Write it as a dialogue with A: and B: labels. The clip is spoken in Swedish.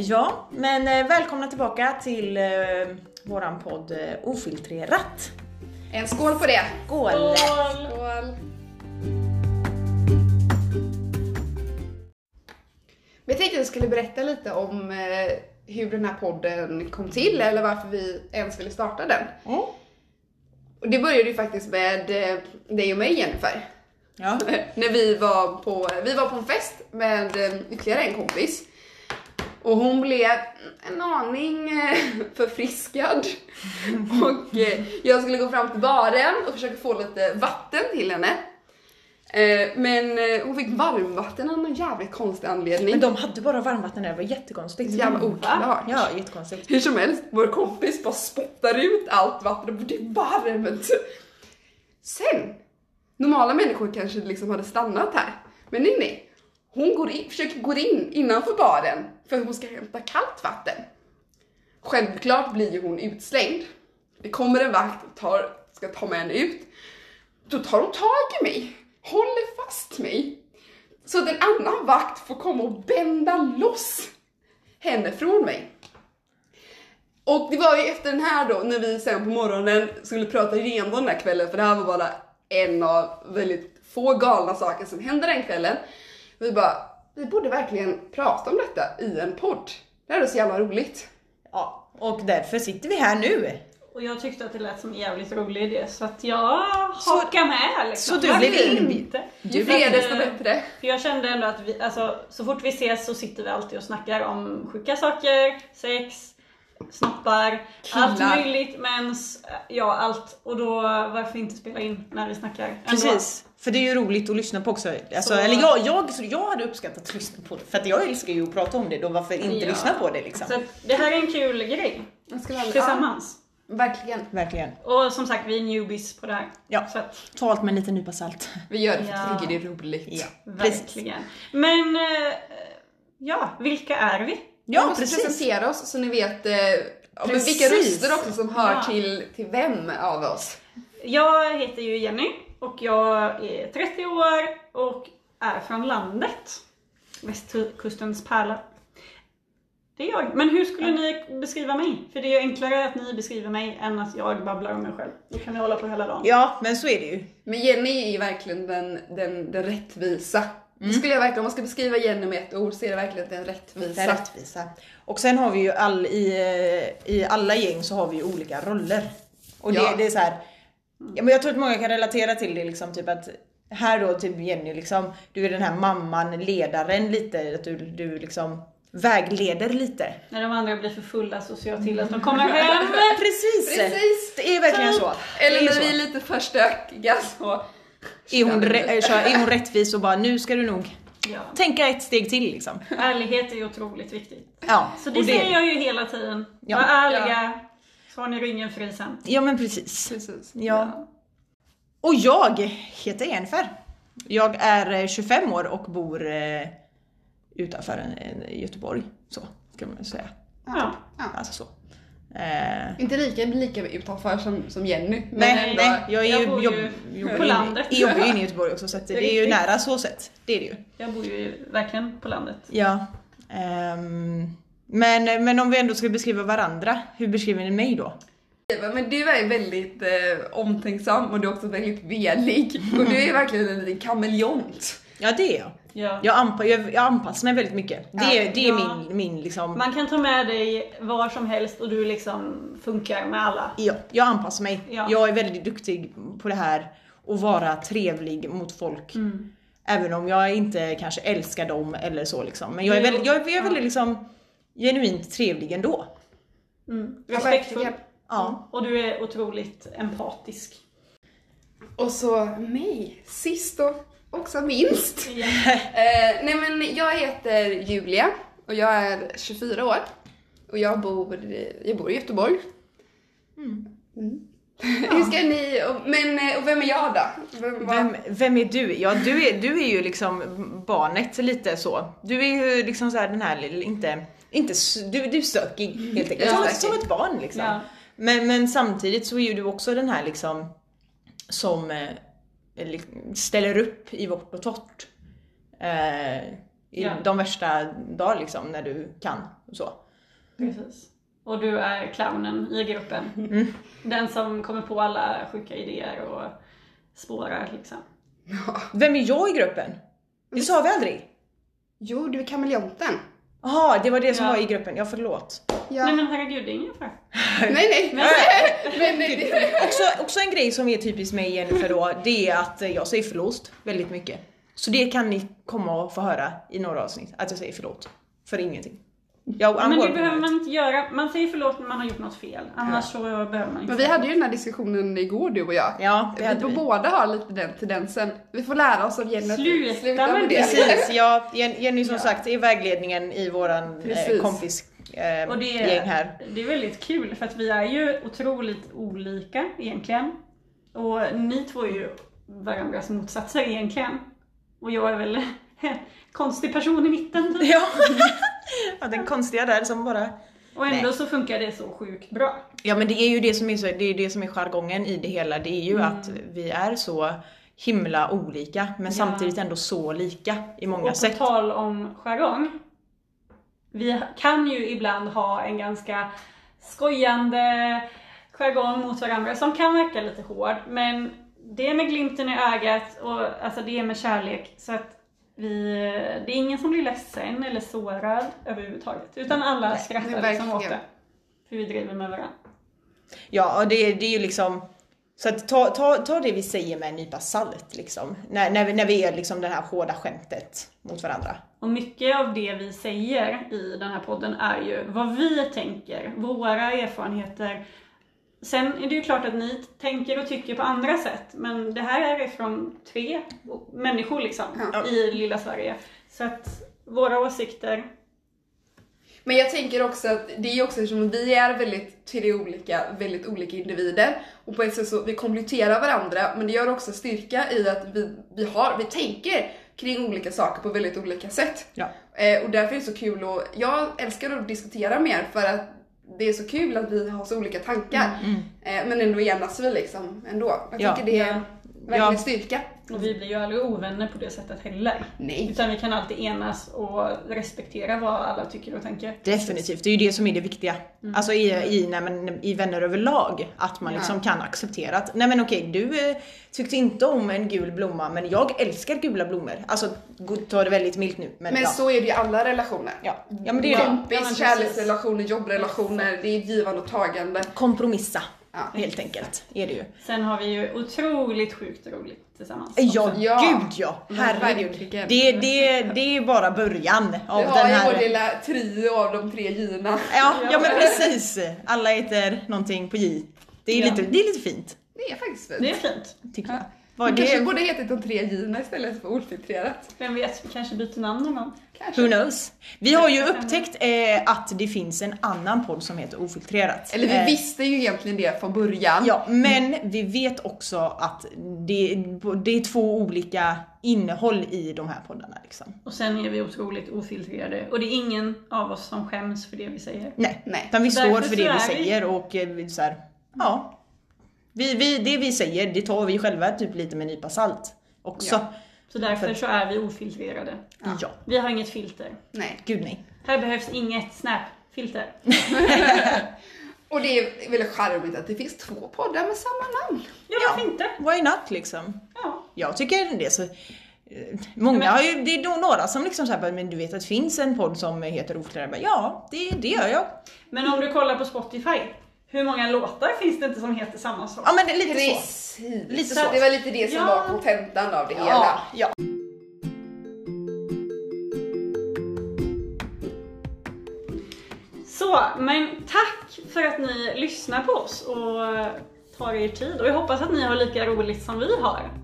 A: ja, men eh, välkomna tillbaka till eh, våran podd eh, Ofiltrerat.
B: En skål på det!
A: Skål! Eh?
B: Skål! Vi tänkte att vi skulle berätta lite om eh, hur den här podden kom till eller varför vi ens ville starta den.
A: Mm.
B: Och det började ju faktiskt med eh, dig och mig Jennifer.
A: Ja.
B: När vi var på, vi var på en fest med eh, ytterligare en kompis. Och hon blev en aning eh, förfriskad. Och eh, jag skulle gå fram till baren och försöka få lite vatten till henne. Eh, Men eh, hon fick varmvatten av någon jävligt konstig anledning.
A: Men de hade bara varmvatten där, det var jättekonstigt.
B: Jävla oklart.
A: Ja, jättekonstigt.
B: Hur som helst, vår kompis bara spottar ut allt vatten och det är varmt. Sen, normala människor kanske liksom hade stannat här. Men nej, nej. Hon går in, försöker gå in innanför baren för att hon ska hämta kallt vatten. Självklart blir ju hon utslängd. Det kommer en vakt och tar, ska ta med henne ut. Då tar hon tag i mig, håller fast mig. Så att en annan vakt får komma och bända loss henne från mig. Och det var ju efter den här då, när vi sen på morgonen skulle prata igenom den här kvällen, för det här var bara en av väldigt få galna saker som hände den kvällen. Vi bara, vi borde verkligen prata om detta i en podd. Det här är så jävla roligt.
A: Ja, och därför sitter vi här nu.
C: Och jag tyckte att det lät som en jävligt rolig idé så att jag hakar med liksom.
A: så du
C: Varför
A: blev in-
C: inte? eh,
B: Ju fler desto bättre.
C: För jag kände ändå att vi, alltså, så fort vi ses så sitter vi alltid och snackar om sjuka saker, sex, snoppar,
B: Killar.
C: allt möjligt, mens, eh, ja allt. Och då varför inte spela in när vi snackar? ändå?
A: Precis. För det är ju roligt att lyssna på också. Alltså,
C: Så-
A: eller jag, jag, så jag hade uppskattat att lyssna på det, för att jag älskar ju att prata om det, då varför inte
C: Ja.
A: lyssna på det liksom?
C: Så att det här är en kul grej
B: Jag skulle aldrig-
C: tillsammans.
B: Ja, verkligen.
A: Verkligen.
C: Och som sagt, vi är newbies på det här.
A: Ja.
C: Så att,
A: Ta allt med en liten nypa salt.
B: Vi gör det för att vi
C: Ja.
B: tycker det är roligt.
A: Ja, precis.
C: verkligen. Men, eh, ja, vilka är vi?
B: vi
A: Ja,
B: måste
A: precis.
B: presentera oss så ni vet eh, ja, men vilka
A: Precis.
B: röster också som hör
C: Ja.
B: till, till vem av oss.
C: Jag heter ju Jenny och jag är 30 år och är från landet. Västkustens pärla. Det är jag. Men hur skulle ni beskriva mig? För det är ju enklare att ni beskriver mig än att jag babblar om mig själv. Då kan vi hålla på hela dagen.
A: Ja, men så är det ju.
B: Men Jenny är ju verkligen den, den, den rättvisa.
A: Mm.
B: Det skulle jag verkligen, om man ska beskriva Jenny med ett ord så är det verkligen den rättvisa.
A: Den rättvisa. Och sen har vi ju all, i, eh, i alla gäng så har vi ju olika roller. Och det,
B: Ja.
A: det är så här, ja, men jag tror att många kan relatera till det liksom, typ att här då typ Jenny liksom, du är den här mamman, ledaren lite, att du, du liksom vägleder lite.
C: När de andra blir för fulla så ser jag till att de kommer hem.
A: Precis!
B: Precis.
A: Det är verkligen så.
B: Eller
A: det är,
B: när
A: så.
B: vi är lite för stökiga så...
A: Är, hon re, eh, så är hon rättvis och bara nu ska du nog
C: Ja.
A: tänka ett steg till liksom.
C: Ärlighet är ju otroligt viktigt.
A: Ja,
C: Så det,
A: och
C: säger jag ju hela tiden.
A: Ja.
C: Var ärliga, så har ni ringen fri sen.
A: Ja men precis.
B: Precis.
A: Ja. Och jag heter Jennifer. Jag är eh, 25 år och bor eh, utanför en, en Göteborg. Så kan man ju säga.
C: Ja.
A: Alltså så. Eh,
B: Inte lika, lika utanför som, som Jenny. Men
A: nej,
B: ändå,
A: nej, jag är
C: jag
A: ju,
C: bor ju
A: jobb, jobbar
C: på
A: ju-
C: landet.
A: Jag jobbar ju inne i Göteborg också så att det, är ju
C: Riktigt.
A: nära så sett. Det är det ju.
C: Jag bor ju verkligen på landet.
A: Ja. ehm, men, men om vi ändå ska beskriva varandra, hur beskriver ni mig då?
B: Men du är väldigt eh, omtänksam och du är också väldigt velig. Och du är verkligen en liten kameleont.
A: Ja det är jag.
C: Ja.
A: Jag, anpa, jag, jag anpassar mig väldigt mycket. Det, är- det är
C: Ja.
A: min, min liksom...
C: Man kan ta med dig var som helst och du liksom funkar med alla.
A: Ja, jag anpassar mig.
C: Ja.
A: Jag är väldigt duktig på det här och vara trevlig mot folk.
C: Mm.
A: Även om jag inte kanske älskar dem eller så liksom. Men jag är
C: Jo.
A: väldigt, jag, är- jag är
C: Ja.
A: väldigt liksom genuint trevlig ändå.
C: Respektfull.
B: verkligen.
A: Ja.
C: Och du är otroligt empatisk.
B: Och så mig, sist och också minst. Eh, nej men jag heter Julia och jag är 24 år. Och jag bor, i- jag bor i Göteborg. Mm. Hur ska ni, och, men eh, och vem är jag då? Vem, vad-
A: Vem, vem är du? Ja, du är, du är ju liksom barnet lite så. Du är ju liksom så här den här lilla- inte, inte, s- du, du är stökig helt enkelt.
B: Ja,
A: Som, ett-
B: stökig.
A: som ett barn liksom.
C: Ja.
A: Men, men samtidigt så är ju du också den här liksom som eh, li- ställer upp i vårt och torrt. Eh, i
C: Ja.
A: de värsta dagar liksom när du kan. Och så.
C: Precis. Och du är clownen i gruppen.
B: Mm.
C: Den som kommer på alla sjuka idéer och spårar liksom.
A: Vem är jag i gruppen? Det sa vi aldrig.
B: Jo, du är kameleonten.
A: Jaha, det var det som
C: Ja.
A: var i gruppen. Ja, förlåt.
B: Ja.
C: Nej men herregud, det är ingen fara.
B: nej, nej. nej. men, nej, det-
A: Också, också en grej som är typisk mig Jennifer då, det är att jag säger förlåt väldigt mycket. Så det kan ni komma och få höra i några avsnitt, att jag säger förlåt. För ingenting. Jag, I'm
C: Men det
A: working on
C: behöver
A: it.
C: man inte göra. Man säger förlåt när man har gjort något fel. Annars så behöver man
B: men
C: inte.
B: vi hade ju den här diskussionen igår du och jag.
A: Ja, det
B: vi
A: hade
B: vi
A: vi.
B: båda har lite den tendensen. Vi får lära oss av Jenny att
C: Sluta med det.
A: Precis, ja. Jen- Jenny som sagt är vägledningen i våran eh,
B: Precis.
A: kompis eh,
C: Och det
A: gäng här.
C: är, det är väldigt kul för att vi är ju otroligt olika egentligen. Och ni två är ju varandras motsatser egentligen. Och jag är väl en konstig person i mitten typ.
A: Ja. ja, den konstiga där som bara...
C: Och ändå
A: Nej.
C: så funkar det så sjukt bra.
A: Ja men det är ju det som är, så, det är det som är jargongen i det hela. Det är ju
C: Mm.
A: att vi är så himla olika men samtidigt ändå så lika i många
C: Och på
A: sätt.
C: tal om jargong. Vi kan ju ibland ha en ganska skojande jargong mot varandra som kan verka lite hård. Men det är med glimten i ögat och alltså det är med kärlek. Så att vi, det är ingen som blir ledsen eller sårad överhuvudtaget. Utan alla
B: det
C: skrattar
B: är
C: liksom åt
B: verkligen.
C: det. För vi driver med varandra.
A: Ja och det, är- det är ju liksom så att ta, ta, ta det vi säger med en nypa salt liksom. När, när, vi, när vi är liksom det här hårda skämtet mot varandra.
C: Och mycket av det vi säger i den här podden är ju vad vi tänker, våra erfarenheter. Sen är det ju klart att ni tänker och tycker på andra sätt, men det här är från tre människor liksom
B: Ja.
C: i lilla Sverige. Så att våra åsikter,
B: Men jag tänker också att det är också eftersom vi är väldigt tre olika, väldigt olika individer och på ett sätt så vi kompletterar varandra men det gör också styrka i att vi, vi, har, vi tänker kring olika saker på väldigt olika sätt.
A: Ja.
B: Eh, och därför är det så kul och jag älskar att diskutera mer för att det är så kul att vi har så olika tankar. Eh, men ändå enas vi liksom ändå. Jag
A: Mm, Ja.
B: tycker det är verkligen
A: Ja.
B: styrka.
C: och vi blir ju aldrig ovänner på det sättet heller.
B: Nej.
C: Utan vi kan alltid enas och respektera vad alla tycker och tänker.
A: Definitivt, det är ju det som är det viktiga. Alltså i, i, nej, men, i vänner överlag. Att man
B: Mm. Ja.
A: liksom kan acceptera att, nej men okej du eh, tyckte inte om en gul blomma men jag älskar gula blommor. Alltså gå- ta det väldigt milt nu. Men,
B: Men
A: ja.
B: så är det i alla relationer.
A: Ja. ja men det är det.
C: Ja, men
B: Kompis,
C: precis.
B: kärleksrelationer, jobbrelationer, det är givande och tagande.
A: Kompromissa.
B: Ja.
A: Helt enkelt, är det ju.
C: Sen har vi ju otroligt sjukt roligt tillsammans.
A: Ja,
B: Ja.
A: gud ja!
B: Men
A: Herregud.
B: verkligen.
A: Det, det, det är bara början av
B: Vi
A: den
B: har ju
A: här...
B: vår lilla trio av de tre J-erna.
A: Ja, ja men precis! Alla heter någonting på J. Det är,
C: Ja.
A: lite, det är lite fint,
B: Det är faktiskt
C: Det
B: fint.
C: är fint.
A: tycker jag.
B: Vi
A: Vad
B: kanske
A: det,
B: borde hetat de tre J-erna istället för ofiltrerat.
C: Vem vet, vi kanske byter namn någon gång.
A: Who
B: Kanske.
A: knows? Vi har ju upptäckt eh, att det finns en annan podd som heter Ofiltrerat.
B: Eller vi
A: Eh,
B: visste ju egentligen det från början.
A: Ja, men vi vet också att det, det är två olika innehåll i de här poddarna. Liksom.
C: Och sen är vi otroligt ofiltrerade. Och det är ingen av oss som skäms för det vi säger.
A: Nej,
B: Nej.
A: utan vi
C: Därför
A: står för
C: så
A: det
C: är
A: vi
C: vi-
A: säger och eh, vi, så här, ja. Vi, vi, det vi säger, det tar vi själva typ lite med en nypa salt också.
C: Så därför så är vi ofiltrerade.
A: Ja.
C: Vi har inget filter.
B: Nej.
A: Gud nej.
C: Här behövs inget snap-filter.
B: Och det är väl charmigt att det finns två poddar med samma namn.
C: Ja, varför inte?
A: Why not liksom?
C: Ja.
A: Jag tycker det är så. eh, Många
C: Men-
A: har ju, det är nog några som liksom såhär, men du vet att det finns en podd som heter Ofiltrerad? Jag bara, Ja, det, det gör jag.
C: Men om du kollar på Spotify, hur många låtar finns det inte som heter samma sak?
A: Ja men det är lite så.
B: Precis.
A: Lite
B: Det
A: så.
B: var lite det som
C: Ja.
B: var kontentan av det
A: Ja,
B: hela.
A: ja.
C: Så, men tack för att ni lyssnar på oss och tar er tid. Och jag hoppas att ni har lika roligt som vi har.